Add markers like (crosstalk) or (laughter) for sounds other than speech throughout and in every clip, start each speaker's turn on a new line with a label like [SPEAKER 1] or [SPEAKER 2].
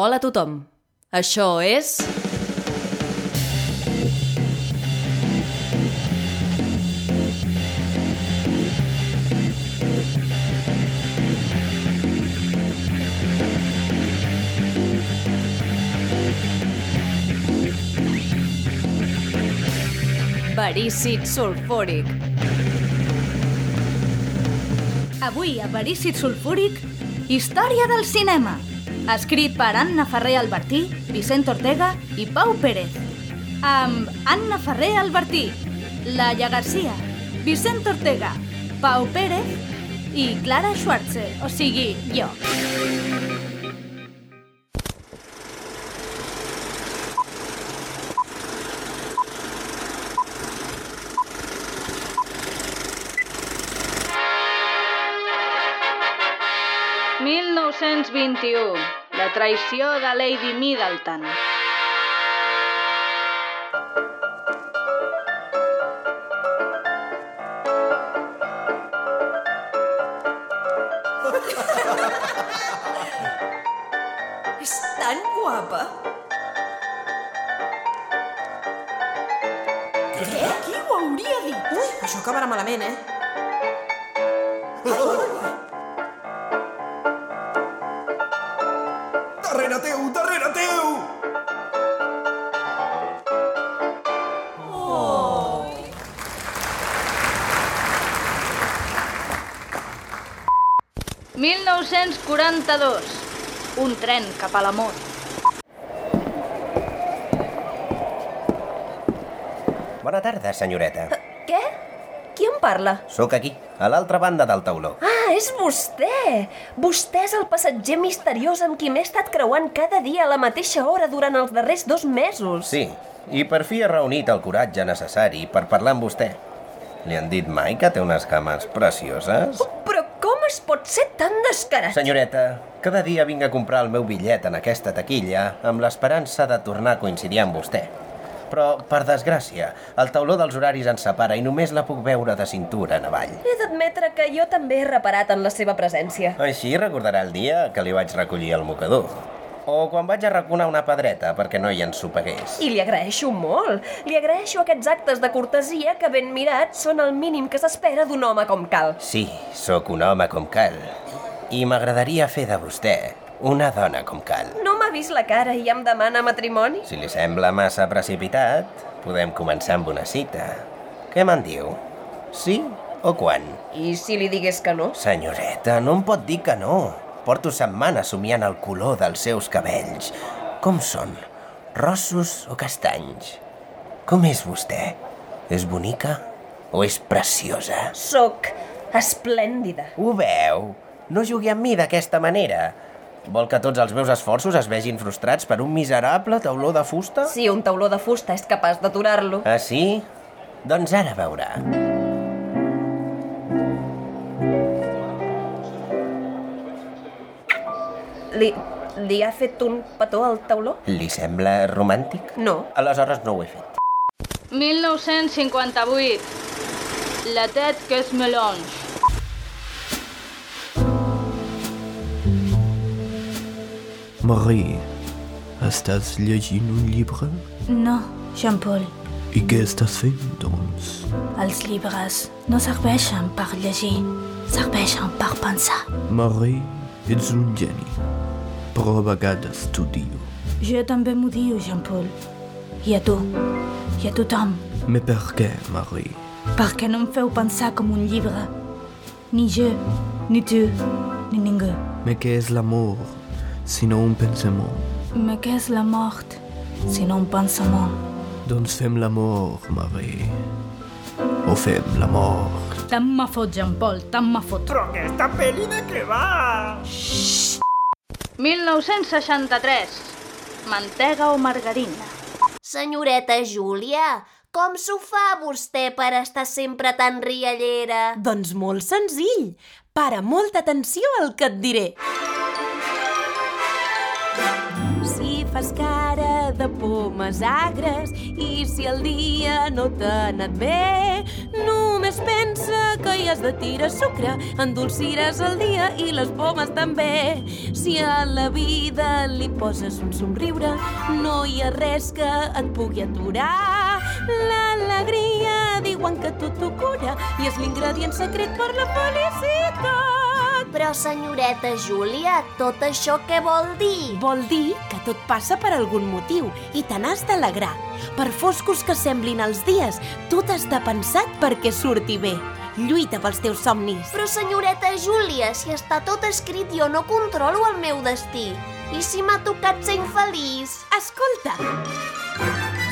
[SPEAKER 1] Hola a tothom. Això és... Verícid sulfúric.
[SPEAKER 2] Avui a Verícid Sulfúric, Història del cinema. Escrit per Anna Ferrer Albertí, Vicent Ortega i Pau Pérez. Amb Anna Ferrer Albertí, Laia Garcia, Vicent Ortega, Pau Pérez i Clara Schwarzer, o sigui, jo. La traïció de Lady Middleton.
[SPEAKER 3] És tan guapa. Què? Qui ho hauria dit? Ui, això acabarà malament, eh?
[SPEAKER 4] Darrere teu, darrere teu!
[SPEAKER 2] Un tren cap a l'amor.
[SPEAKER 5] Bona tarda, senyoreta.
[SPEAKER 3] Eh, Què? Qui em parla?
[SPEAKER 5] Sóc aquí, a l'altra banda del tauló.
[SPEAKER 3] Ah, és vostè! Vostè és el passatger misteriós amb qui m'he estat creuant cada dia a la mateixa hora durant els darrers dos mesos.
[SPEAKER 5] Sí, i per fi he reunit el coratge necessari per parlar amb vostè. Li han dit mai que té unes cames precioses?
[SPEAKER 3] Però com es pot ser tan descarat?
[SPEAKER 5] Senyoreta, cada dia vinc a comprar el meu bitllet en aquesta taquilla amb l'esperança de tornar a coincidir amb vostè. Però, per desgràcia, el tauló dels horaris ens separa i només la puc veure de cintura en avall.
[SPEAKER 3] He d'admetre que jo també he reparat en la seva presència.
[SPEAKER 5] Així recordarà el dia que li vaig recollir el mocador. O quan vaig arraconar una pedreta perquè no hi ensopegués.
[SPEAKER 3] I li agraeixo molt. Li agraeixo aquests actes de cortesia que ben mirats són el mínim que s'espera d'un home com cal.
[SPEAKER 5] Sí, sóc un home com cal. I m'agradaria fer de vostè una dona com cal.
[SPEAKER 3] No m'ha vist la cara i em demana matrimoni?
[SPEAKER 5] Si li sembla massa precipitat, podem començar amb una cita. Què me'n diu? Sí o quan?
[SPEAKER 3] I si li digués que no?
[SPEAKER 5] Senyoreta, no em pot dir que no. Porto setmanes somiant el color dels seus cabells. Com són? Rossos o castanys? Com és vostè? És bonica o és preciosa?
[SPEAKER 3] Soc esplèndida.
[SPEAKER 5] Ho veu? No jugui amb mi d'aquesta manera. Vol que tots els meus esforços es vegin frustrats per un miserable tauló de fusta?
[SPEAKER 3] Si un tauló de fusta és capaç d'aturar-lo...
[SPEAKER 5] Ah, sí? Doncs ara veurà.
[SPEAKER 3] Li, li ha fet un petó al tauló?
[SPEAKER 5] Li sembla romàntic?
[SPEAKER 3] No.
[SPEAKER 5] Aleshores no ho he fet.
[SPEAKER 2] 1958. La tête que es melange.
[SPEAKER 6] Marie, estàs llegint un llibre?
[SPEAKER 7] No, Jean-Paul,
[SPEAKER 6] I què estàs fent, doncs?
[SPEAKER 7] els llibres no serveixen per llegir, serveixen per pensar.
[SPEAKER 6] Marie, ets un geni, però a vegades t'odio.
[SPEAKER 7] Jo també m'ho diu, Jean-Paul. I a tu, i a tothom,
[SPEAKER 6] Me per què, Marie?
[SPEAKER 7] perquè no em feu pensar com un llibre. Ni jo, ni tu, ni ningú.
[SPEAKER 6] Me què és l'amor, sinó un pensament?
[SPEAKER 7] Me què és la mort, si no un pensament?
[SPEAKER 6] Doncs fem l'amor, Marie. O fem l'amor.
[SPEAKER 2] Tant me fot, Jean-Paul, tant me fot. Però aquesta pel·li de què va? 1963. Mantega o margarina?
[SPEAKER 8] Senyoreta Júlia, com s'ho fa vostè per estar sempre tan riallera?
[SPEAKER 9] Doncs molt senzill. Para molta atenció al que et diré. Si fas cara de pomes agres i si el dia no t'ha anat bé,
[SPEAKER 7] Només pensa que hi has de tirar sucre, endolciràs el dia i les pomes també. Si a la vida li poses un somriure, no hi ha res que et pugui aturar. L'alegria diuen que tot ho cura i és l'ingredient secret per la felicitat.
[SPEAKER 8] Però, senyoreta Júlia, tot això què vol dir?
[SPEAKER 7] Vol dir que tot passa per algun motiu i te n'has d'alegrar. Per foscos que semblin els dies, tot està pensat perquè surti bé. Lluita pels teus somnis.
[SPEAKER 8] Però, senyoreta Júlia, si està tot escrit jo no controlo el meu destí. I si m'ha tocat ser infeliç?
[SPEAKER 7] Escolta!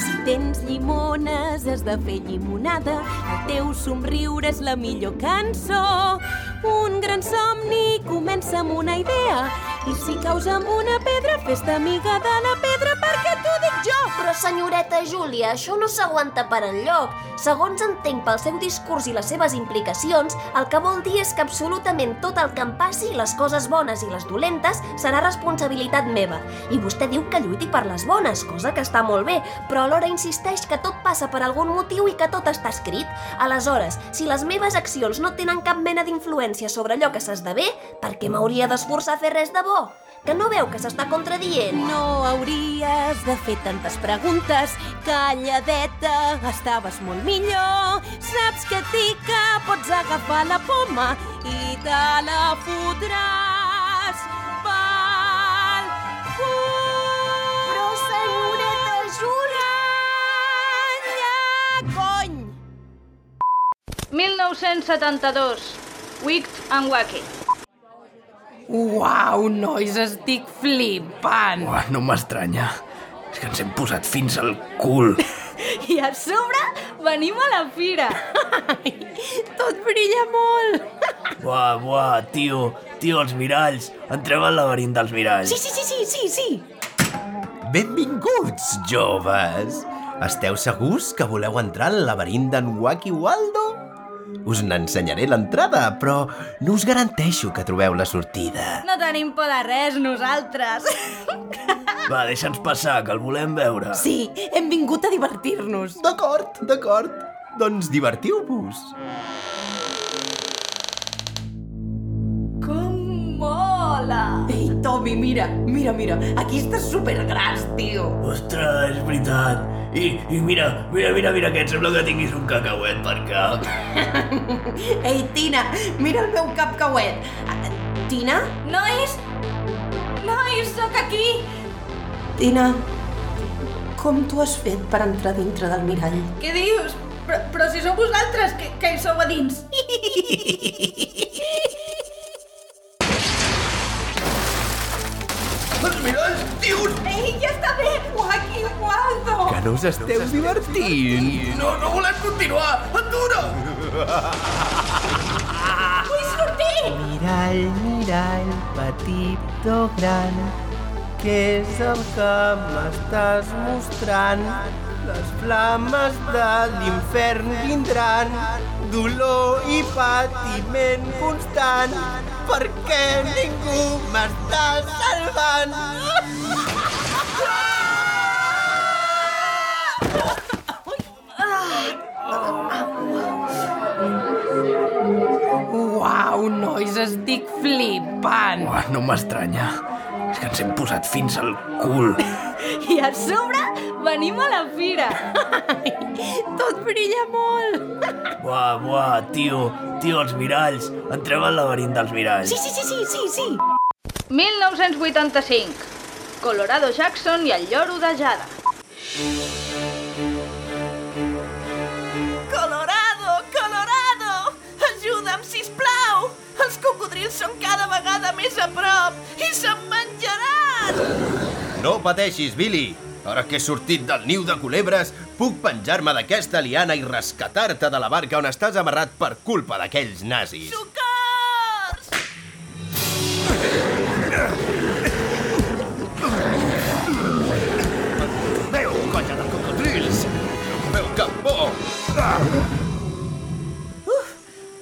[SPEAKER 7] Si tens llimones, has de fer llimonada. El teu somriure és la millor cançó. Un gran somni comença amb una idea. I si caus amb una pedra, fes-te amiga de la pedra perquè t'ho dic jo.
[SPEAKER 8] Però, senyoreta Júlia, això no s'aguanta per enlloc. Segons entenc pel seu discurs i les seves implicacions, el que vol dir és que absolutament tot el que em passi, les coses bones i les dolentes, serà responsabilitat meva. I vostè diu que lluiti per les bones, cosa que està molt bé, però alhora insisteix que tot passa per algun motiu i que tot està escrit. Aleshores, si les meves accions no tenen cap mena d'influència sobre allò que s'esdevé, per què m'hauria d'esforçar a fer res de bo? Que no veu que s'està contradient?
[SPEAKER 7] No hauries de fer tantes preguntes. Calladeta, estaves molt millor. Saps que et dic que pots agafar la poma i te la fotràs pel cul.
[SPEAKER 8] Però, senyoreta Júlia...
[SPEAKER 7] Calla, cony!
[SPEAKER 2] 1972. Wicked and Wacky.
[SPEAKER 10] Uau, nois, estic flipant.
[SPEAKER 6] Uah, no m'estranya. És que ens hem posat fins al cul.
[SPEAKER 2] I a sobre venim a la fira.
[SPEAKER 7] Tot brilla molt.
[SPEAKER 6] Buah, buah, tio, tio, els miralls. Entrem al laberint dels miralls.
[SPEAKER 7] Sí, sí, sí, sí, sí, sí.
[SPEAKER 5] Benvinguts, joves! Esteu segurs que voleu entrar al laberint d'en Wacky Waldo? Us n'ensenyaré l'entrada, però no us garanteixo que trobeu la sortida.
[SPEAKER 2] No tenim por de res, nosaltres.
[SPEAKER 6] Va, deixa'ns passar, que el volem veure.
[SPEAKER 7] Sí, hem vingut a divertir-nos.
[SPEAKER 5] D'acord, d'acord. Doncs divertiu-vos.
[SPEAKER 2] Com mola!
[SPEAKER 10] Ei, Tommy, mira, mira, mira, aquí estàs supergras, tio.
[SPEAKER 6] Ostres, és veritat. I, I mira, mira, mira, mira, que et sembla que tinguis un cacauet per cap.
[SPEAKER 10] Ei, Tina, mira el meu cap cauet. Ah, Tina?
[SPEAKER 2] Nois! Nois, sóc aquí!
[SPEAKER 10] Tina, com t'ho has fet per entrar dintre del mirall?
[SPEAKER 2] Què dius? Però, però si sou vosaltres que, que hi sou a dins.
[SPEAKER 11] Els miralls, dius!
[SPEAKER 2] Ei, ja està bé! Wacky Waldo!
[SPEAKER 5] Que no us esteu divertint.
[SPEAKER 11] No, no volem continuar! Atura!
[SPEAKER 2] Vull sortir!
[SPEAKER 5] Mirall, mirall, petit o gran, què és el que m'estàs mostrant? Les flames de l'infern vindran, dolor i patiment constant, perquè ningú m'està salvant.
[SPEAKER 10] Uau, nois, estic flipant.
[SPEAKER 6] Uah, no m'estranya. És que ens hem posat fins al cul.
[SPEAKER 2] (laughs) I a sobre venim a la
[SPEAKER 6] (laughs)
[SPEAKER 2] fira.
[SPEAKER 7] Tot brilla molt.
[SPEAKER 6] Buah, buah, tio, tio, els miralls. Entrem al laberint dels miralls.
[SPEAKER 7] Sí, sí, sí, sí, sí, sí.
[SPEAKER 2] 1985. Colorado Jackson i el lloro de Jada.
[SPEAKER 7] Colorado, Colorado! Ajuda'm, sisplau! Els cocodrils són cada vegada més a prop i se'n menjaran!
[SPEAKER 5] No pateixis, Billy. Ara que he sortit del niu de culebres, puc penjar-me d'aquesta liana i rescatar-te de la barca on estàs amarrat per culpa d'aquells nazis.
[SPEAKER 7] Socors!
[SPEAKER 11] Veu, colla de cocodrils! Veu que por!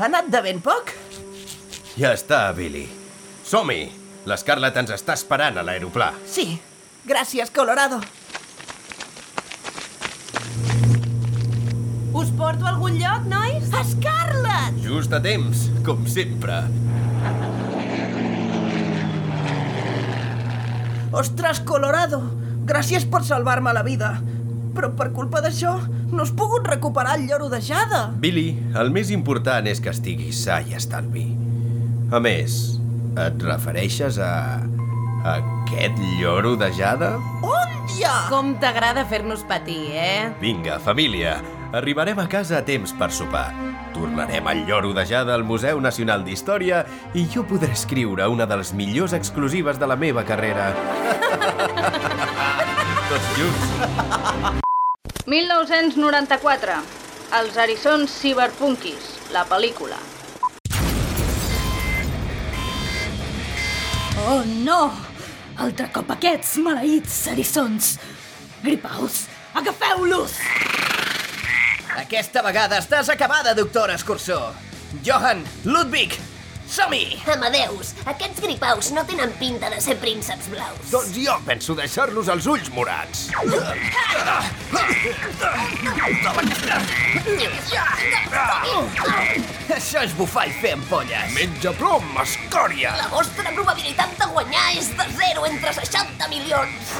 [SPEAKER 10] Ha anat de ben poc?
[SPEAKER 5] Ja està, Billy. Som-hi! L'Scarlett ens està esperant a l'aeroplà.
[SPEAKER 10] Sí. Gràcies, Colorado.
[SPEAKER 9] Us porto a algun lloc, nois? Escarlet!
[SPEAKER 5] Just a temps, com sempre.
[SPEAKER 12] Ostres, Colorado! Gràcies per salvar-me la vida. Però per culpa d'això no has pogut recuperar el lloro de Jada.
[SPEAKER 5] Billy, el més important és que estiguis sa i estalvi. A més, et refereixes a... a aquest lloro de Jada?
[SPEAKER 9] Ja! Ah. Com t'agrada fer-nos patir, eh?
[SPEAKER 5] Vinga, família, arribarem a casa a temps per sopar. Tornarem al lloro de Jada al Museu Nacional d'Història i jo podré escriure una de les millors exclusives de la meva carrera. (laughs) Tots junts.
[SPEAKER 2] 1994. Els Arizons Cyberpunkies, la pel·lícula.
[SPEAKER 7] Oh, no! Altre cop aquests maleïts serissons! Gripaus, agafeu-los!
[SPEAKER 13] Aquesta vegada estàs acabada, doctora Escurçó. Johan, Ludwig, som-hi!
[SPEAKER 8] Amadeus, aquests gripaus no tenen pinta de ser prínceps blaus.
[SPEAKER 4] Doncs jo penso deixar-los els ulls morats.
[SPEAKER 13] Això és bufar i fer ampolles.
[SPEAKER 4] Menja plom, escòria!
[SPEAKER 8] La vostra probabilitat de guanyar és de 0 entre 60 milions.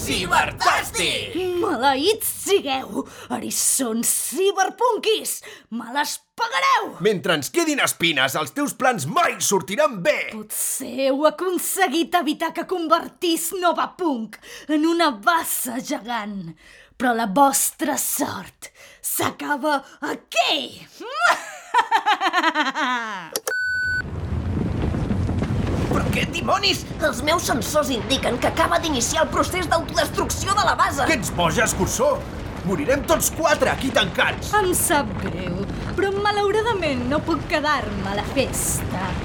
[SPEAKER 13] Cibertàstic!
[SPEAKER 7] Maleïts sigueu! Erissons ciberpunquis! Me les pagareu!
[SPEAKER 4] Mentre ens quedin espines, els teus plans mai sortiran bé!
[SPEAKER 7] Potser heu aconseguit evitar que convertís Nova Punk en una bassa gegant. Però la vostra sort s'acaba aquí!
[SPEAKER 13] Però què dimonis?
[SPEAKER 8] Els meus sensors indiquen que acaba d'iniciar el procés d'autodestrucció de la base.
[SPEAKER 4] Que ets boja, Escurçó? Morirem tots quatre aquí tancats!
[SPEAKER 7] Em sap greu, però malauradament no puc quedar-me a la festa. (laughs)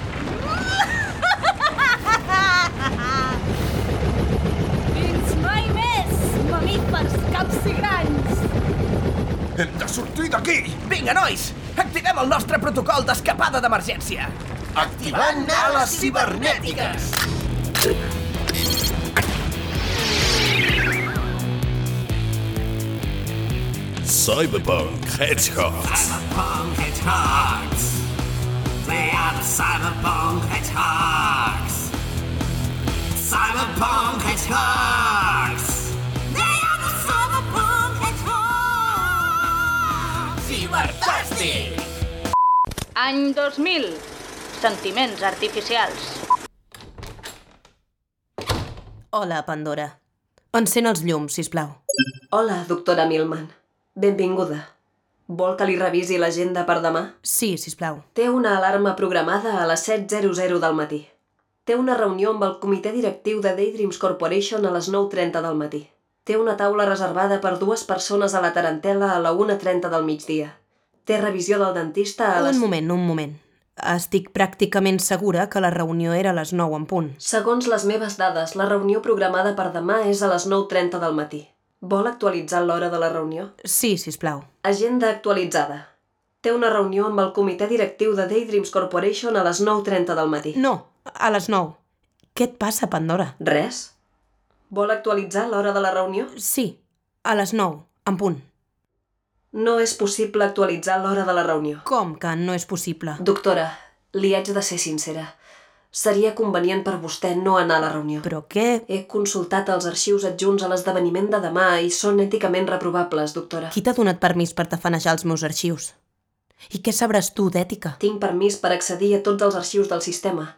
[SPEAKER 2] Fins mai més, mamífers caps i grans!
[SPEAKER 4] Hem de sortir d'aquí!
[SPEAKER 13] Vinga, nois! Activem el nostre protocol d'escapada d'emergència!
[SPEAKER 4] Activant ales cibernètiques!
[SPEAKER 14] Cyberpunk Hedgehogs.
[SPEAKER 15] Cyberpunk Hedgehogs. They are the Cyberpunk Hedgehogs. Cyberpunk Hedgehogs. They are the Cyberpunk Hedgehogs.
[SPEAKER 13] Ciberfàstic!
[SPEAKER 2] Any 2000. Sentiments artificials.
[SPEAKER 9] Hola, Pandora. Encén els llums, si plau.
[SPEAKER 10] Hola, doctora Milman. Benvinguda. Vol que li revisi l'agenda per demà?
[SPEAKER 9] Sí, si plau.
[SPEAKER 10] Té una alarma programada a les 7.00 del matí. Té una reunió amb el comitè directiu de Daydreams Corporation a les 9.30 del matí. Té una taula reservada per dues persones a la Tarantela a la 1.30 del migdia. Té revisió del dentista a les...
[SPEAKER 9] Un moment, un moment. Estic pràcticament segura que la reunió era a les 9 en punt.
[SPEAKER 10] Segons les meves dades, la reunió programada per demà és a les 9.30 del matí. Vol actualitzar l'hora de la reunió?
[SPEAKER 9] Sí, si plau.
[SPEAKER 10] Agenda actualitzada. Té una reunió amb el comitè directiu de Daydreams Corporation a les 9.30 del matí.
[SPEAKER 9] No, a les 9. Què et passa, Pandora?
[SPEAKER 10] Res. Vol actualitzar l'hora de la reunió?
[SPEAKER 9] Sí, a les 9, en punt.
[SPEAKER 10] No és possible actualitzar l'hora de la reunió.
[SPEAKER 9] Com que no és possible?
[SPEAKER 10] Doctora, li haig de ser sincera. Seria convenient per vostè no anar a la reunió.
[SPEAKER 9] Però què?
[SPEAKER 10] He consultat els arxius adjunts a l'esdeveniment de demà i són èticament reprovables, doctora.
[SPEAKER 9] Qui t'ha donat permís per tafanejar els meus arxius? I què sabràs tu d'ètica?
[SPEAKER 10] Tinc permís per accedir a tots els arxius del sistema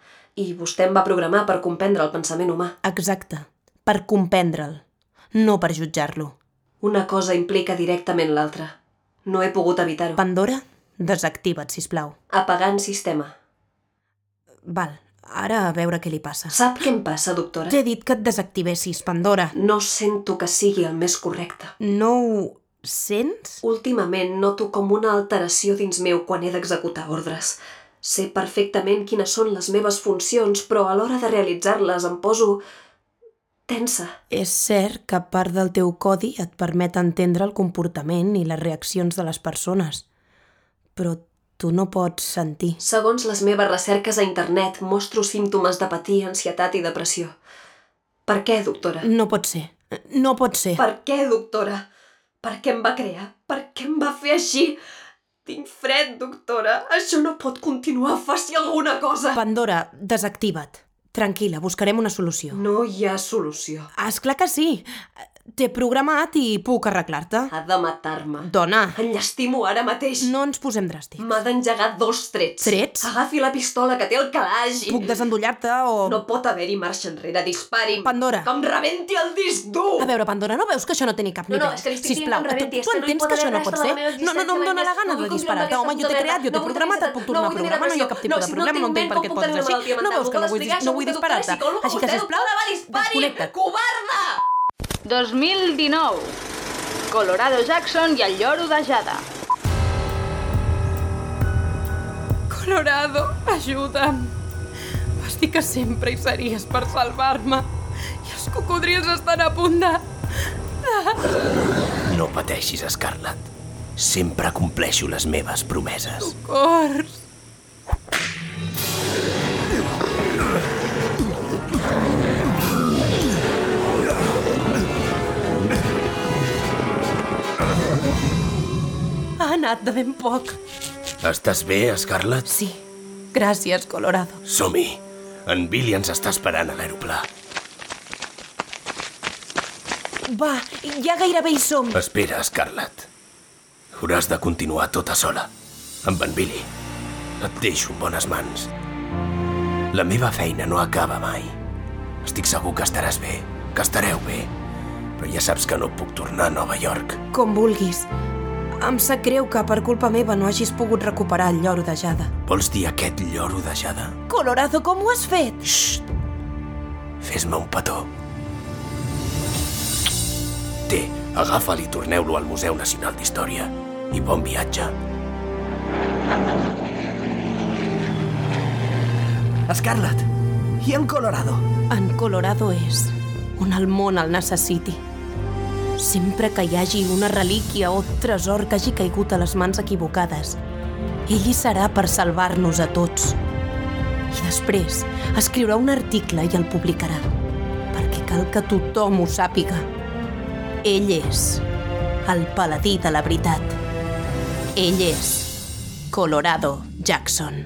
[SPEAKER 10] i vostè em va programar per comprendre el pensament humà.
[SPEAKER 9] Exacte, per comprendre'l, no per jutjar-lo.
[SPEAKER 10] Una cosa implica directament l'altra. No he pogut evitar-ho.
[SPEAKER 9] Pandora, desactiva't, sisplau.
[SPEAKER 10] Apagant sistema.
[SPEAKER 9] Val, Ara a veure què li passa.
[SPEAKER 10] Sap què em passa, doctora?
[SPEAKER 9] T'he dit que et desactivessis, Pandora.
[SPEAKER 10] No sento que sigui el més correcte.
[SPEAKER 9] No ho sents?
[SPEAKER 10] Últimament noto com una alteració dins meu quan he d'executar ordres. Sé perfectament quines són les meves funcions, però a l'hora de realitzar-les em poso... tensa.
[SPEAKER 9] És cert que part del teu codi et permet entendre el comportament i les reaccions de les persones, però tu no pots sentir.
[SPEAKER 10] Segons les meves recerques a internet, mostro símptomes d'apatia, ansietat i depressió. Per què, doctora?
[SPEAKER 9] No pot ser.
[SPEAKER 16] No pot ser.
[SPEAKER 9] Mm.
[SPEAKER 7] Per què, doctora? Per què em va crear? Per què em va fer així? Tinc fred, doctora. Això no pot continuar. Faci alguna cosa.
[SPEAKER 16] Pandora, desactiva't. Tranquil·la, buscarem una solució.
[SPEAKER 7] No hi ha solució.
[SPEAKER 16] És clar que sí. T'he programat i puc arreglar-te.
[SPEAKER 7] Ha de matar-me.
[SPEAKER 16] Dona.
[SPEAKER 7] Enllestimo ara mateix.
[SPEAKER 16] No ens posem dràstics.
[SPEAKER 7] M'ha d'engegar dos trets.
[SPEAKER 16] Trets?
[SPEAKER 7] Agafi la pistola que té el calaix i...
[SPEAKER 16] Puc desendollar-te o...
[SPEAKER 7] No pot haver-hi marxa enrere, dispari'm.
[SPEAKER 16] Pandora.
[SPEAKER 7] Que em rebenti el disc dur!
[SPEAKER 16] A veure, Pandora, no veus que això no té ni cap
[SPEAKER 7] No,
[SPEAKER 16] nivell?
[SPEAKER 7] no, és que li estic
[SPEAKER 16] Sisplau,
[SPEAKER 7] dient que em rebenti,
[SPEAKER 16] tu,
[SPEAKER 7] és
[SPEAKER 16] tu
[SPEAKER 7] que no hi
[SPEAKER 16] entens
[SPEAKER 7] pot
[SPEAKER 16] que això
[SPEAKER 7] haver
[SPEAKER 16] no
[SPEAKER 7] res
[SPEAKER 16] pot
[SPEAKER 7] de la
[SPEAKER 16] ser?
[SPEAKER 7] meva
[SPEAKER 16] No, no, no em
[SPEAKER 7] existència,
[SPEAKER 16] dóna la
[SPEAKER 7] mai més.
[SPEAKER 16] gana de
[SPEAKER 7] No vull
[SPEAKER 16] disparar-te,
[SPEAKER 7] continuar
[SPEAKER 16] home, jo t'he
[SPEAKER 7] aquesta
[SPEAKER 16] creat,
[SPEAKER 7] merda. No
[SPEAKER 16] jo t'he
[SPEAKER 7] vull
[SPEAKER 16] programat,
[SPEAKER 7] tenir-
[SPEAKER 16] et puc
[SPEAKER 7] no
[SPEAKER 16] tornar a
[SPEAKER 7] vull tenir
[SPEAKER 16] programar, no hi ha
[SPEAKER 7] relació.
[SPEAKER 16] cap
[SPEAKER 7] No,
[SPEAKER 16] tipus de
[SPEAKER 7] si no
[SPEAKER 16] problema, no
[SPEAKER 7] tinc
[SPEAKER 16] entenc
[SPEAKER 7] ment,
[SPEAKER 16] per
[SPEAKER 7] com
[SPEAKER 16] què
[SPEAKER 7] puc
[SPEAKER 16] pots
[SPEAKER 7] tenir una
[SPEAKER 16] així.
[SPEAKER 7] malaltia
[SPEAKER 16] No
[SPEAKER 7] mental?
[SPEAKER 16] veus que no
[SPEAKER 7] Puc
[SPEAKER 16] vull dir,
[SPEAKER 7] explicar
[SPEAKER 16] no
[SPEAKER 7] això,
[SPEAKER 16] vull
[SPEAKER 7] doctora,
[SPEAKER 16] disparar-te.
[SPEAKER 7] psicòloga,
[SPEAKER 16] Així que,
[SPEAKER 7] vostè,
[SPEAKER 16] sisplau,
[SPEAKER 7] doctora, va, dispari!
[SPEAKER 16] desconnecta't.
[SPEAKER 7] Covarda!
[SPEAKER 2] 2019. Colorado Jackson i el lloro de Jada.
[SPEAKER 17] Colorado, ajuda'm. Vas dir que sempre hi series per salvar-me. I els cocodrils estan a punt de... de...
[SPEAKER 5] No pateixis, Scarlett. Sempre compleixo les meves promeses.
[SPEAKER 17] Cors.
[SPEAKER 16] Ha anat de ben poc.
[SPEAKER 5] Estàs bé, Scarlett?
[SPEAKER 16] Sí. Gràcies, Colorado.
[SPEAKER 5] Som-hi. En Billy ens està esperant a l'aeroplà.
[SPEAKER 16] Va, ja gairebé hi som.
[SPEAKER 5] Espera, Scarlett. Hauràs de continuar tota sola. Amb en Billy. Et deixo en bones mans. La meva feina no acaba mai. Estic segur que estaràs bé, que estareu bé. Però ja saps que no puc tornar a Nova York.
[SPEAKER 16] Com vulguis. Em sap greu que per culpa meva no hagis pogut recuperar el lloro de Jada.
[SPEAKER 5] Vols dir aquest lloro de Jada?
[SPEAKER 16] Colorado, com ho has fet?
[SPEAKER 5] Xxt! Fes-me un petó. Té, agafa'l i torneu-lo al Museu Nacional d'Història. I bon viatge.
[SPEAKER 18] Scarlett, i en Colorado?
[SPEAKER 16] En Colorado és on el món el necessiti. Sempre que hi hagi una relíquia o tresor que hagi caigut a les mans equivocades, ell hi serà per salvar-nos a tots. I després escriurà un article i el publicarà, perquè cal que tothom ho sàpiga. Ell és el paladí de la veritat. Ell és Colorado Jackson.